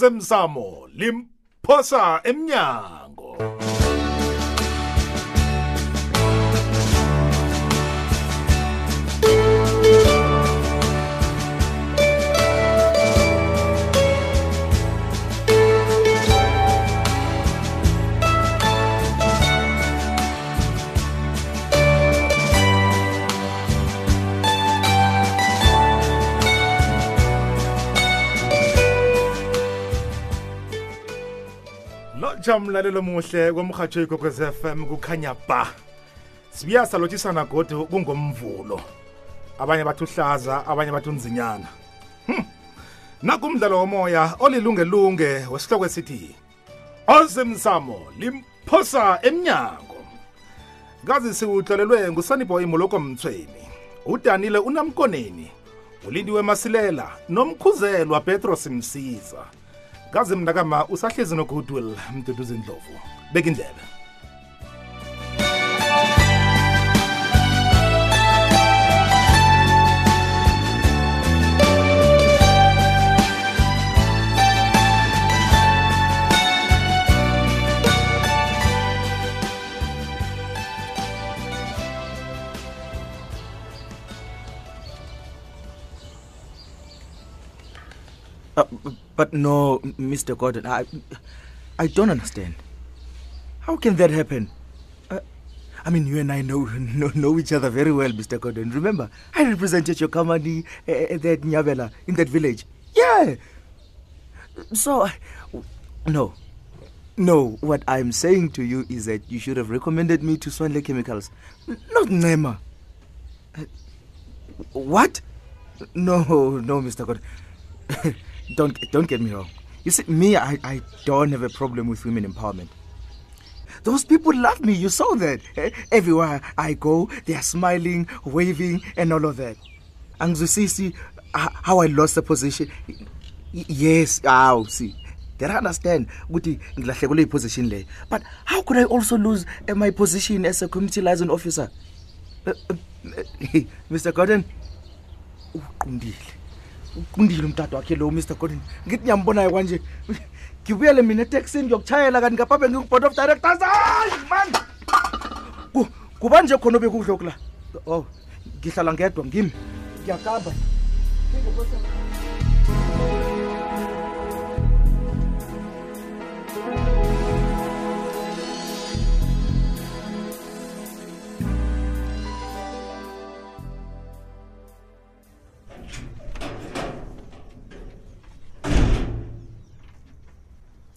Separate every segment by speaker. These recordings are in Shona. Speaker 1: osemsamo limphosa emnyango lotsha mlalelo muhle kwamrhatsho ikwekwez fm kukhanya ba sibuya salotshisana godi kungomvulo abanye bathi uhlaza abanye bathi unzinyana Hm. nakumdlalo womoya olilungelunge wesihloko esithi osemsamo limphosa emnyango kazi siwuhlolelwe ngusaniboy moloko mthweni udanile unamkoneni ulindiwe masilela nomkhuzelwa petros msiza kazi mnakama usahlezi nogoodwill mduduzi ndlovu beka indlebe
Speaker 2: Uh, b- but no, m- Mr. Gordon, I, I don't understand. How can that happen? Uh, I mean, you and I know, know know each other very well, Mr. Gordon. Remember, I represented your company uh, at that Nyabela in that village. Yeah. So, I- no, no. What I'm saying to you is that you should have recommended me to Swanle Chemicals, not Nema. Uh, What? No, no, Mr. God. don't don't get me wrong. You see, me, I, I don't have a problem with women empowerment. Those people love me. You saw that. Eh, Everywhere I go, they are smiling, waving, and all of that. Angzusisi, how I lost the position. Y- Yes, ow, see. That I understand. ukuthi ngilahlekelwe i-position leyo. But how could I also lose eh, my position as a community liaison officer? Eh, eh, Mr. Gordon, uqundile uqundile umtata wakhe lo mr gordon ngithi ngiyambonayo kwanje ngibuyele mina eteksini ngiyokutshayela kanti ngaphambe ngingu-board of directors hayi man Ku- kuba nje khona obekudloku la o ngihlala ngedwa ngimi ngiyakamba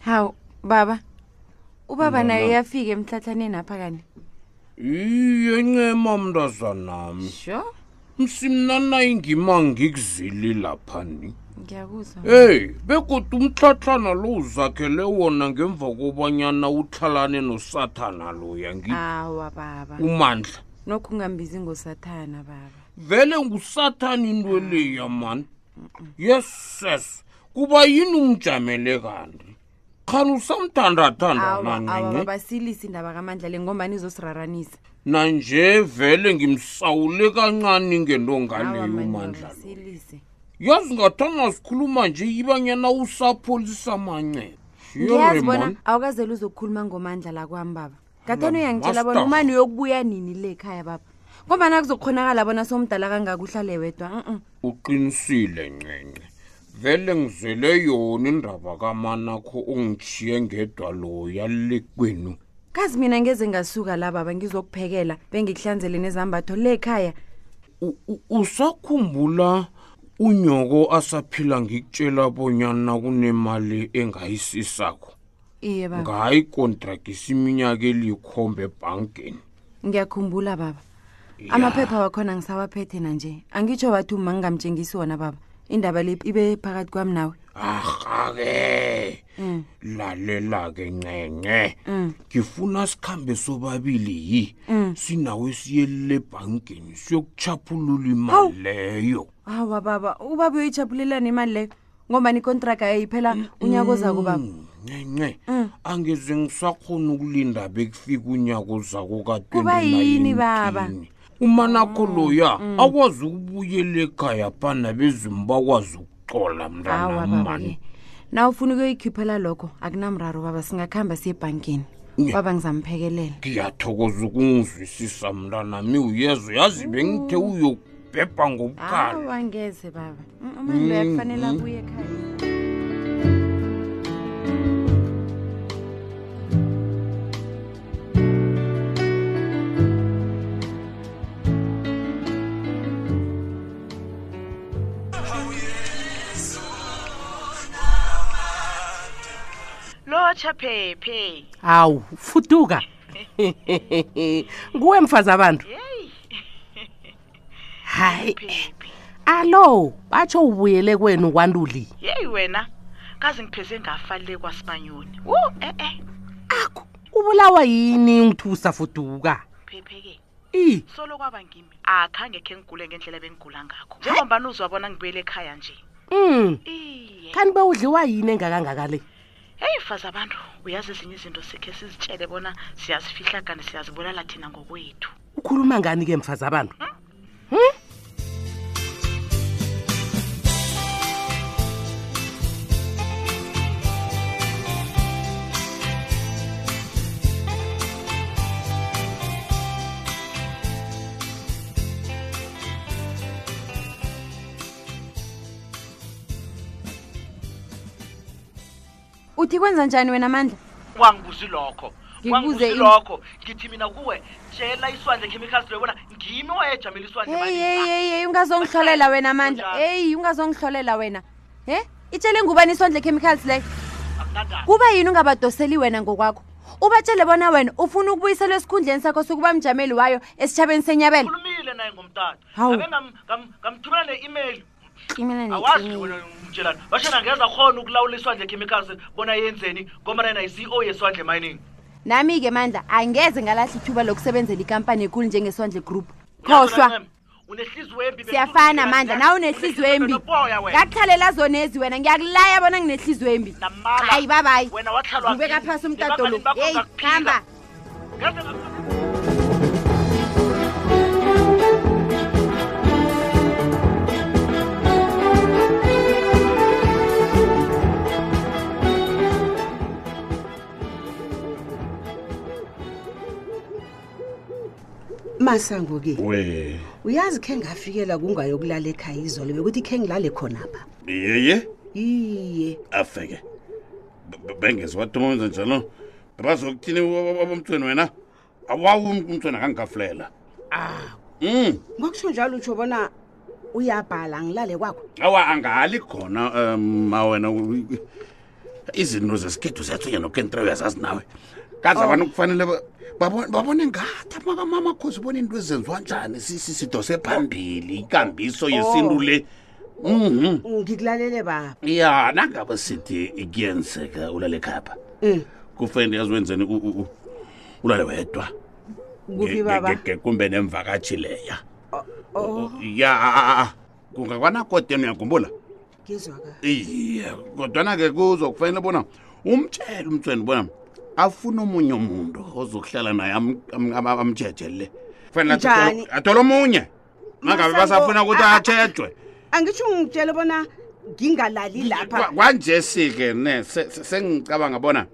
Speaker 3: hawu baba ubaba
Speaker 4: No,
Speaker 3: naye
Speaker 4: no.
Speaker 3: yafika emhlathaneni apha kani
Speaker 4: iye ncema mntazanami
Speaker 3: sure
Speaker 4: msimnana ingima ngikuzili lapha ni
Speaker 3: ngiyakuzwa
Speaker 4: eyi begoda umtlhatlhana lo uzakhele wona ngemva kobanyana uthalane nosathana loya ngi-
Speaker 3: awa baba
Speaker 4: umandla
Speaker 3: nokho ungambizi ngosathana baba
Speaker 4: vele ngusathana
Speaker 3: Ah.
Speaker 4: into leya mani yeses kuba yini umjamele kanti khani usamthandathanda
Speaker 3: awa awa
Speaker 4: nanye
Speaker 3: baba silisi indaba kamandla le ngombani izosiraranisa
Speaker 4: nanje vele ngimsawule kancane ngento ngaleyo
Speaker 3: Awa, man,
Speaker 4: umandla
Speaker 3: baba,
Speaker 4: lo
Speaker 3: silise
Speaker 4: yazi ngathanga sikhuluma nje ibanyana usapholisa amanceba
Speaker 3: ngiyazi bona awukazeli uzokukhuluma ngomandla la kwami baba ngathani uyangitshela bona
Speaker 4: master.
Speaker 3: umani uyokubuya nini le ekhaya baba ngombana kuzokhonakala bona somdala kangaka uhlale wedwa u
Speaker 4: uqinisile ncenye vele ngizele yona indaba kamanakho ongitshiye ngedwa loya le kwenu
Speaker 3: kazi mina ngeze ngasuka la baba ngizokuphekela bengikuhlanzele nezambatho le ekhaya
Speaker 4: U- u- usakhumbula unyoko asaphila ngikutshela bonyana kunemali engayisisakho
Speaker 3: iye baba
Speaker 4: ngayikontragisa iminyaka eliyikhombe ebhankeni
Speaker 3: ngiyakhumbula baba amaphepha wakhona ngisawaphethe nanje angitsho bathi uma ngingamtshengisi wona baba indaba le ibe phakathi kwami nawe
Speaker 4: ahake
Speaker 3: Mm.
Speaker 4: lalela ke ncenye ngifuna sikhambe sobabili yi
Speaker 3: Mm.
Speaker 4: sinawe siyelile ebhankini siyokuchaphulula imali leyo
Speaker 3: hawa baba ubaba uyoyijabulelana imali leyo ngoba nikontraga yayiphela unyaka ozako baba
Speaker 4: ncenye
Speaker 3: Mm.
Speaker 4: angeze ngisakhona ukulinda bekufika unyaka zako
Speaker 3: Kuba yini, Mm. baba?
Speaker 4: ka-2019 umanakho loya akwazi ukubuyela ekhaya phana bezimba akwazi ukuxola
Speaker 3: hawa
Speaker 4: mntanam
Speaker 3: baba
Speaker 4: mani
Speaker 3: na ufuna ukuyikhiphela lokho akunamraro baba singakuhamba siye ebhankini
Speaker 4: Nye.
Speaker 3: baba ngizamphekelelela
Speaker 4: ngiyathokoza ukungizwisisa mntanami uyezo yazi bengithe uyokubhebha ngobuqala
Speaker 3: awu angeze baba Mm, umani loya kufanele abuye ekhaya
Speaker 5: lotsha phephe
Speaker 6: hawu fuduka nguwe mfazi abantu hayi
Speaker 5: phephe
Speaker 6: alo batsho ubuyele kwenu kwantuli
Speaker 5: yeyi wena kaze ngipheze ngafanele kwasimanyoni wu e-e
Speaker 6: akho ubulawa yini ngithusa fuduka
Speaker 5: phephe-ke
Speaker 6: i
Speaker 5: solo kwaba ngimi akhange khe ngigule ngendlela bengigula ngakho njengobani uzwabona ngibuyele ekhaya nje
Speaker 6: mm
Speaker 5: iye
Speaker 6: kanti bewudliwa yini engakangaka le
Speaker 5: heyi mfazi abantu uyazi ezinye izinto sikhe sizitshele bona siyazifihla kanti siyazibulala thina ngokwethu
Speaker 6: ukhuluma ngani ke mfazi abantu
Speaker 3: uthi kwenza njani wena mandla
Speaker 5: wangibuzi lokho
Speaker 3: Ngikubuze
Speaker 5: wangibuzi
Speaker 3: ini?
Speaker 5: lokho ngithi mina kuwe tshela iswandle chemicals leyo bona ngimi owayejamela iswandle
Speaker 3: heyi
Speaker 5: emalini.
Speaker 3: heyi heyi heyi ungazongihlolela wena mandla
Speaker 5: Kunjani?
Speaker 3: heyi ungazongihlolela wena he itshele ngubani isondle chemicals leyo
Speaker 5: Akunandaba.
Speaker 3: kuba yini ungabadoseli wena ngokwakho ubatshele bona wena ufuna ukubuyiselwa esikhundleni sakho sokuba mjameli wayo esitshabeni senyabela
Speaker 5: ukhulumile naye ngomtata
Speaker 3: Hawu.
Speaker 5: abe ngam- ngam- ngamthumela ne-imeyili
Speaker 3: Cimela
Speaker 5: awazi
Speaker 3: necimela.
Speaker 5: wena umtshelani bashena ngeza khona ukulawula iswandle chemicals bona yenzeni ngomana yena E i-ceo yeswandle mining
Speaker 3: nami-ke mandla angeze ngalahla ithuba lokusebenzela ikampani ekulu njengesondle group
Speaker 5: Uyazi
Speaker 3: khohlwa
Speaker 5: wena, unehliziyo embi,
Speaker 3: siyafana
Speaker 5: bekuthukuthela
Speaker 3: mandla
Speaker 5: nje.
Speaker 3: nawe unehliziyo embi
Speaker 5: enoboya wena.
Speaker 3: ngakuhlalela zona ezi wena ngiyakulaya bona nginehliziyo embi
Speaker 5: Namala.
Speaker 3: hayi babayi
Speaker 5: Wena wahlalwa
Speaker 3: ubeka
Speaker 5: kimi.
Speaker 3: phasi umtato lo
Speaker 5: Nebangalini bakho
Speaker 3: heyi
Speaker 5: ungakuphila.
Speaker 3: hamba
Speaker 5: Ngeze ngam-
Speaker 7: masango-ke
Speaker 8: we
Speaker 7: uyazi khe ngafikela kungayokulala ekhaya izolo bekuthi khe ngilale khonapha
Speaker 8: yeye
Speaker 7: iye
Speaker 8: afeke bengeziwadonza njalo bebazokuthini abomthweni wena awawumki umthweni akangafulela um
Speaker 7: Ah, ngokusho njalo utsho bona uyabhala ngilale kwakho
Speaker 8: awa angali khona um ma wena u- u- izinto zesikhethu ziyathunya nokentre uyazazi nawe kazi abantu kufanele ba- babone- babone ngathi amamakhosi ubona into ezenziwa njani si- si- sidose phambili ikambiso yesintu le
Speaker 7: Oh.
Speaker 8: mhm
Speaker 7: Mm, ngikulalele baba
Speaker 8: ya nangabe sithi kuyenzeka ulale khapha
Speaker 7: um
Speaker 8: kufanele yazi wenzeni u- u- u- ulale wedwa
Speaker 7: kuphi
Speaker 8: Nge-
Speaker 7: baba Oh,
Speaker 8: nge- nge- kumbe nemvakatshi leya
Speaker 7: o
Speaker 8: ya a- a- a. kungakwanakoteni uyakhumbula
Speaker 7: ngizwaka
Speaker 8: iye kodwana-ke kuzo kufanele bona umtshele umtsweni bona afuna omunye umuntu ozokuhlala naye am- am- am- amtshejele kufanele athi
Speaker 7: Njani? Ah,
Speaker 8: athole- athole omunye mangabe
Speaker 7: Masango,
Speaker 8: basafuna ukuthi
Speaker 7: a- a-
Speaker 8: atshejwe
Speaker 7: angitsho ngitshele bona ngingalali lapha
Speaker 8: Kwa- kwanje sike ne se- se- sengicabanga bona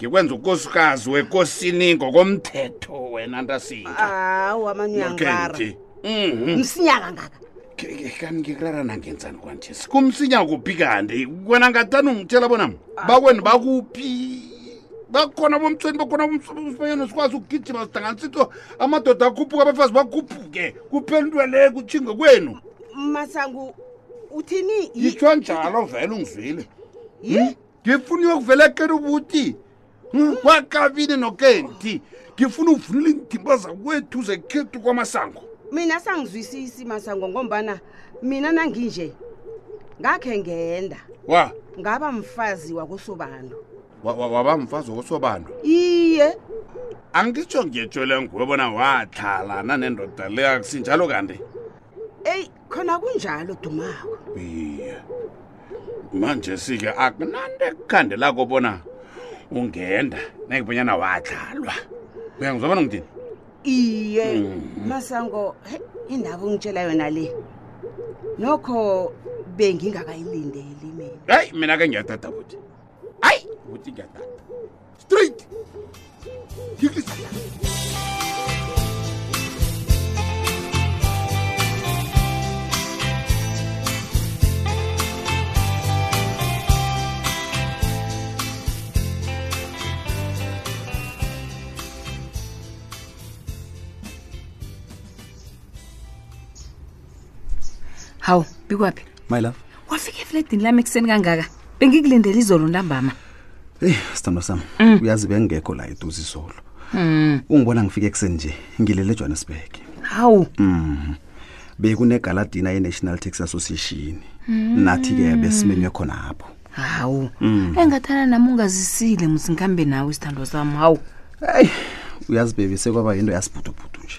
Speaker 8: ngikwenza ukosikazi wekosini ngokomthetho wena ntasika
Speaker 7: awu amanye uyangirara
Speaker 8: Nokhethi. Mhm.
Speaker 7: msinya kangaka
Speaker 8: Ke- ke- kanti ngikurara nangenzani kwanje kumsinya kuphi kanti wena ngatani ungitshela bona
Speaker 7: Ah.
Speaker 8: bakwenu bakuphi bakhona bomtsweni bakhona bomsibanyana sikwazi ukugijima sihlanganisa into amadoda akhuphuka abafazi bakhuphuke kuphela into le kutshinge kwenu
Speaker 7: masango uthini Yi-
Speaker 8: yitsho njalo vele ungizwile
Speaker 7: yi Hmm?
Speaker 8: ngifuna uyokuvela keni ubuti Hmm? kwakabini nokenti ngifuna uvunile iindimba zakwethu zekhethu kwamasango
Speaker 7: mina sangizwisisi masango ngombana mina nanginje ngakhe ngenda
Speaker 8: wa
Speaker 7: ngaba mfazi wakosobantu
Speaker 8: wa- wa- waba mfazi wokosobando
Speaker 7: iye
Speaker 8: angitsho ngiyetshole nguwe bona wathalana nendoda le akusinjalo kanti
Speaker 7: eyi khona kunjalo dumako
Speaker 8: iye manje sike akunanto ekukhandelako bona ungenda nekubonyana watlalwa uyangizobona ngithini
Speaker 7: iye masango he indaba ungitshela yona le nokho bengingakayilindeli mina
Speaker 8: hayi mina ke ngiyatata buthi hayi buthi ngiyatata straight Ngikuliza.
Speaker 9: hawu bikwaphi
Speaker 10: my love
Speaker 9: wafika efledini lami ekuseni kangaka bengikulindela izolo ntambama
Speaker 10: eyi sithandwa sami uyazi bengekho la eduze izolo
Speaker 9: Mm.
Speaker 10: ungibona ngifike ekuseni nje ngilele ejohannesburg
Speaker 9: hawu
Speaker 10: mm. bekunegaladina ye-national taxi association nathi-ke besimenywe khona apho
Speaker 9: Mm. hawu
Speaker 10: Mm.
Speaker 9: Hmm. engathana nami ungazisile musinkambe nawe isithando sami hawu
Speaker 10: eyi uyazi bebi sekwaba yinto yasibhudubhudu nje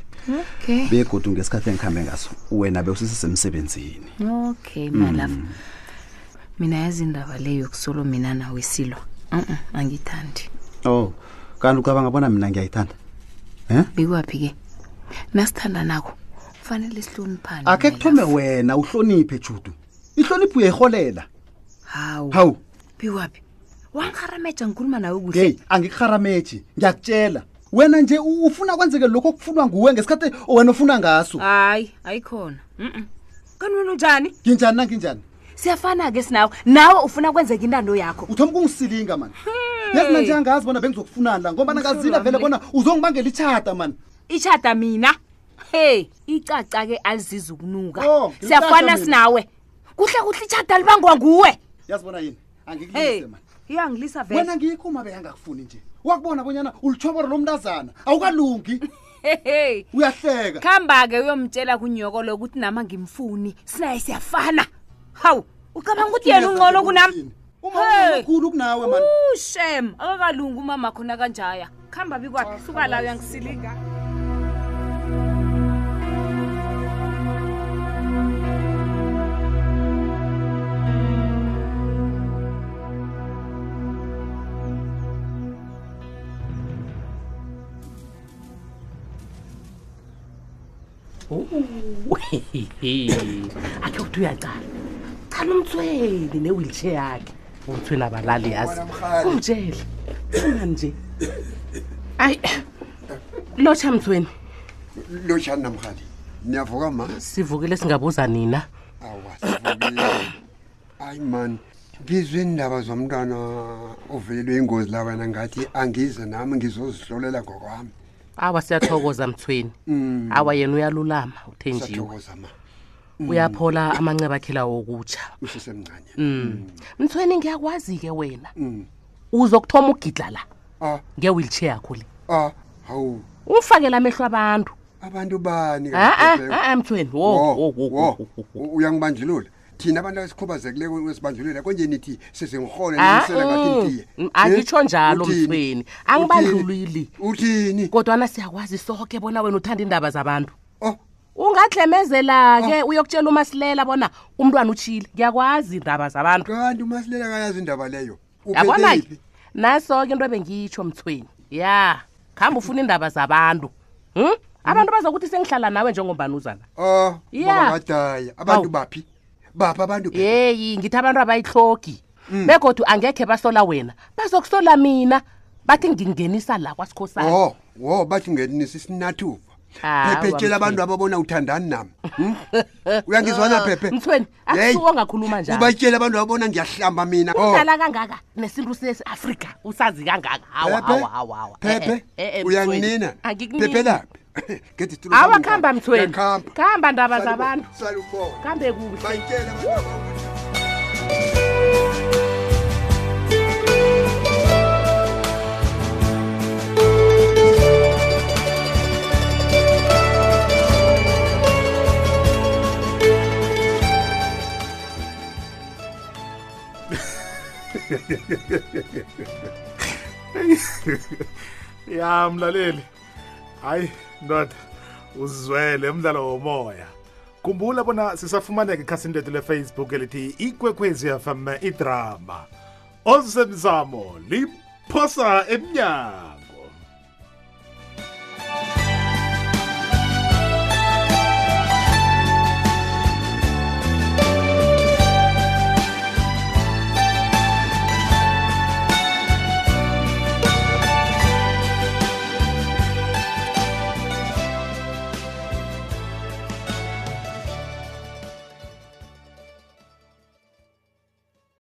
Speaker 9: okay
Speaker 10: begodu ngesikhathi engikhambe ngaso wena bewusisesemsebenzini
Speaker 9: okay malava
Speaker 10: Mm.
Speaker 9: mina yazi indaba leyo yokusolo mina nawe silwa u angithandi
Speaker 10: oh kanti ucabanga bona mina ngiyayithanda um
Speaker 9: bikwaphi-ke nasithanda nakho kufanele sihloniphane
Speaker 10: akhe kuthome wena uhloniphe judu ihlonipho uyayiholela
Speaker 9: hawu
Speaker 10: hawu
Speaker 9: bikwaphi wangiharameja ngikhuluma nawe kuhle
Speaker 10: hey angikuharameji ngiyakutshela wena nje u- ufuna kwenzeke lokhu okufunwa nguwe ngesikhathi wena ofuna ngaso
Speaker 9: hayi ayikhona mm kanti wena unjani
Speaker 10: nginjani nanginjani
Speaker 9: siyafana-ke sinawe nawe ufuna kwenzeka intando yakho Hmm.
Speaker 10: uthoma ukungisilinga mani yazi nanje angazi bona bengizokufunani la ngoba ngazila vele bona uzongibangela itshata mani
Speaker 9: itshada mina hey icaca-ke alizizi ukunuka
Speaker 10: Oh,
Speaker 9: siyafana
Speaker 10: ngilicaca mina.
Speaker 9: sinawe kuhle kuhle itshada libangwa nguwe
Speaker 10: yazibona yini angikulise
Speaker 9: hey
Speaker 10: mani
Speaker 9: iyangilisa vele
Speaker 10: wena ngikho uma beyangakufuni nje wakubona bonyana ulitshoboro lomntazana awukalungi
Speaker 9: hehe
Speaker 10: uyahleka
Speaker 9: kuhamba-ke uyomtshela kunyokolo ukuthi nama ngimfuni sinaye siyafana hawu ucabanga ukuthi yena ungcono kunami Hey.
Speaker 10: umakhulu kunawe mani
Speaker 9: ushem akakalungi umama khona kanjaya kuhamba bikwakhe suka la uyangisilinga
Speaker 6: akhe kuthi uyacala cala umthweni ne-wheelchair yakhe umthweni abalali yazi umtshele funani nje ayi lotsha mthweni
Speaker 11: lotshani namhali niyavuka ma
Speaker 6: sivukile singabuza nina
Speaker 11: awa sivukile hayi mani ngizwe indaba zomntwana uvelelwe ingozi la wena ngathi angize nami ngizozihlolela ngokwami
Speaker 6: awa siyathokoza mthweni
Speaker 11: Mm.
Speaker 6: awa yena uyalulama uthenjiwe
Speaker 11: sathokoza ma
Speaker 6: uyaphola amanceba akhe lawo okutsha
Speaker 11: usesemncane
Speaker 6: Mm. mthweni ngiyakwazi-ke wena
Speaker 11: Mm.
Speaker 6: uzokuthoma ukugidla la
Speaker 11: Ah.
Speaker 6: nge-wheelchair yakho le
Speaker 11: ah hawu
Speaker 6: ungifakela amehlo abantu
Speaker 11: abantu bani
Speaker 6: Ah, ah,
Speaker 11: kanti
Speaker 6: ah, ah, mthweni wo
Speaker 11: Wo, wo, uyangibandlulula thina abantu esikhubazekileko esibandlulela konje nithi sizingihole
Speaker 6: Ah,
Speaker 11: nisele ngathi nitiye
Speaker 6: mm, angitsho njalo
Speaker 11: Uthini?
Speaker 6: mthweni
Speaker 11: Uthini?
Speaker 6: angibandlulile
Speaker 11: uthini
Speaker 6: kodwana siyakwazi soke bona wena uthanda iindaba zabantu
Speaker 11: Oh.
Speaker 6: ungadlemezela-ke uyokutshela umasilela bona umntwana utshile ngiyakwazi iindaba zabantu
Speaker 11: kanti umasilela kayazi indaba leyo
Speaker 6: yabona-ke naso-ke into ebengitsho mthweni ya khamba ufuna iindaba zabantu um abantu bazokuthi sengihlala nawe njengombanuzana
Speaker 11: Hmm. Oh,
Speaker 6: Yeah.
Speaker 11: babadaya. Abantu
Speaker 6: Awu.
Speaker 11: baphi? Bapha abantu baphi? Hmm.
Speaker 6: yeyi ngithi abantu abayihlogi begodwa angekhe basola wena bazokusola mina bathi ngingenisa la kwasikhosana
Speaker 11: Oh, wo bathi ngelinisi sinathuva.
Speaker 6: Hawa,
Speaker 11: Pepe tshela abantu
Speaker 6: Mthweni.
Speaker 11: ababona uthandani nami. Hmm? Uyangizwana Pepe?
Speaker 6: mthweni
Speaker 11: Hey.
Speaker 6: akusuko ongakhuluma njalo
Speaker 11: Ubatshela abantu ababona ngiyahlamba mina. Oh,
Speaker 6: udala kangaka nesintu sesi-afrika usazi kangaka hawa
Speaker 11: Pepe?
Speaker 6: hawa hawa hawa Eh,
Speaker 11: Pepe, uyanginina. Pepe laphi? Get it
Speaker 6: hawa kuhamba mthweni
Speaker 11: Khamba.
Speaker 6: kuhamba ndaba zabantu
Speaker 11: Salubona.
Speaker 6: kuhambe kuhle
Speaker 11: Bayitshela abantu ababona.
Speaker 1: ya mlaleli hayi ndoda uzwele umdlalo womoya khumbula bona sisafumaneka ekhasini lethu lefacebook elithi ikwekwezi fm idrama osemzamo liphosa emnyango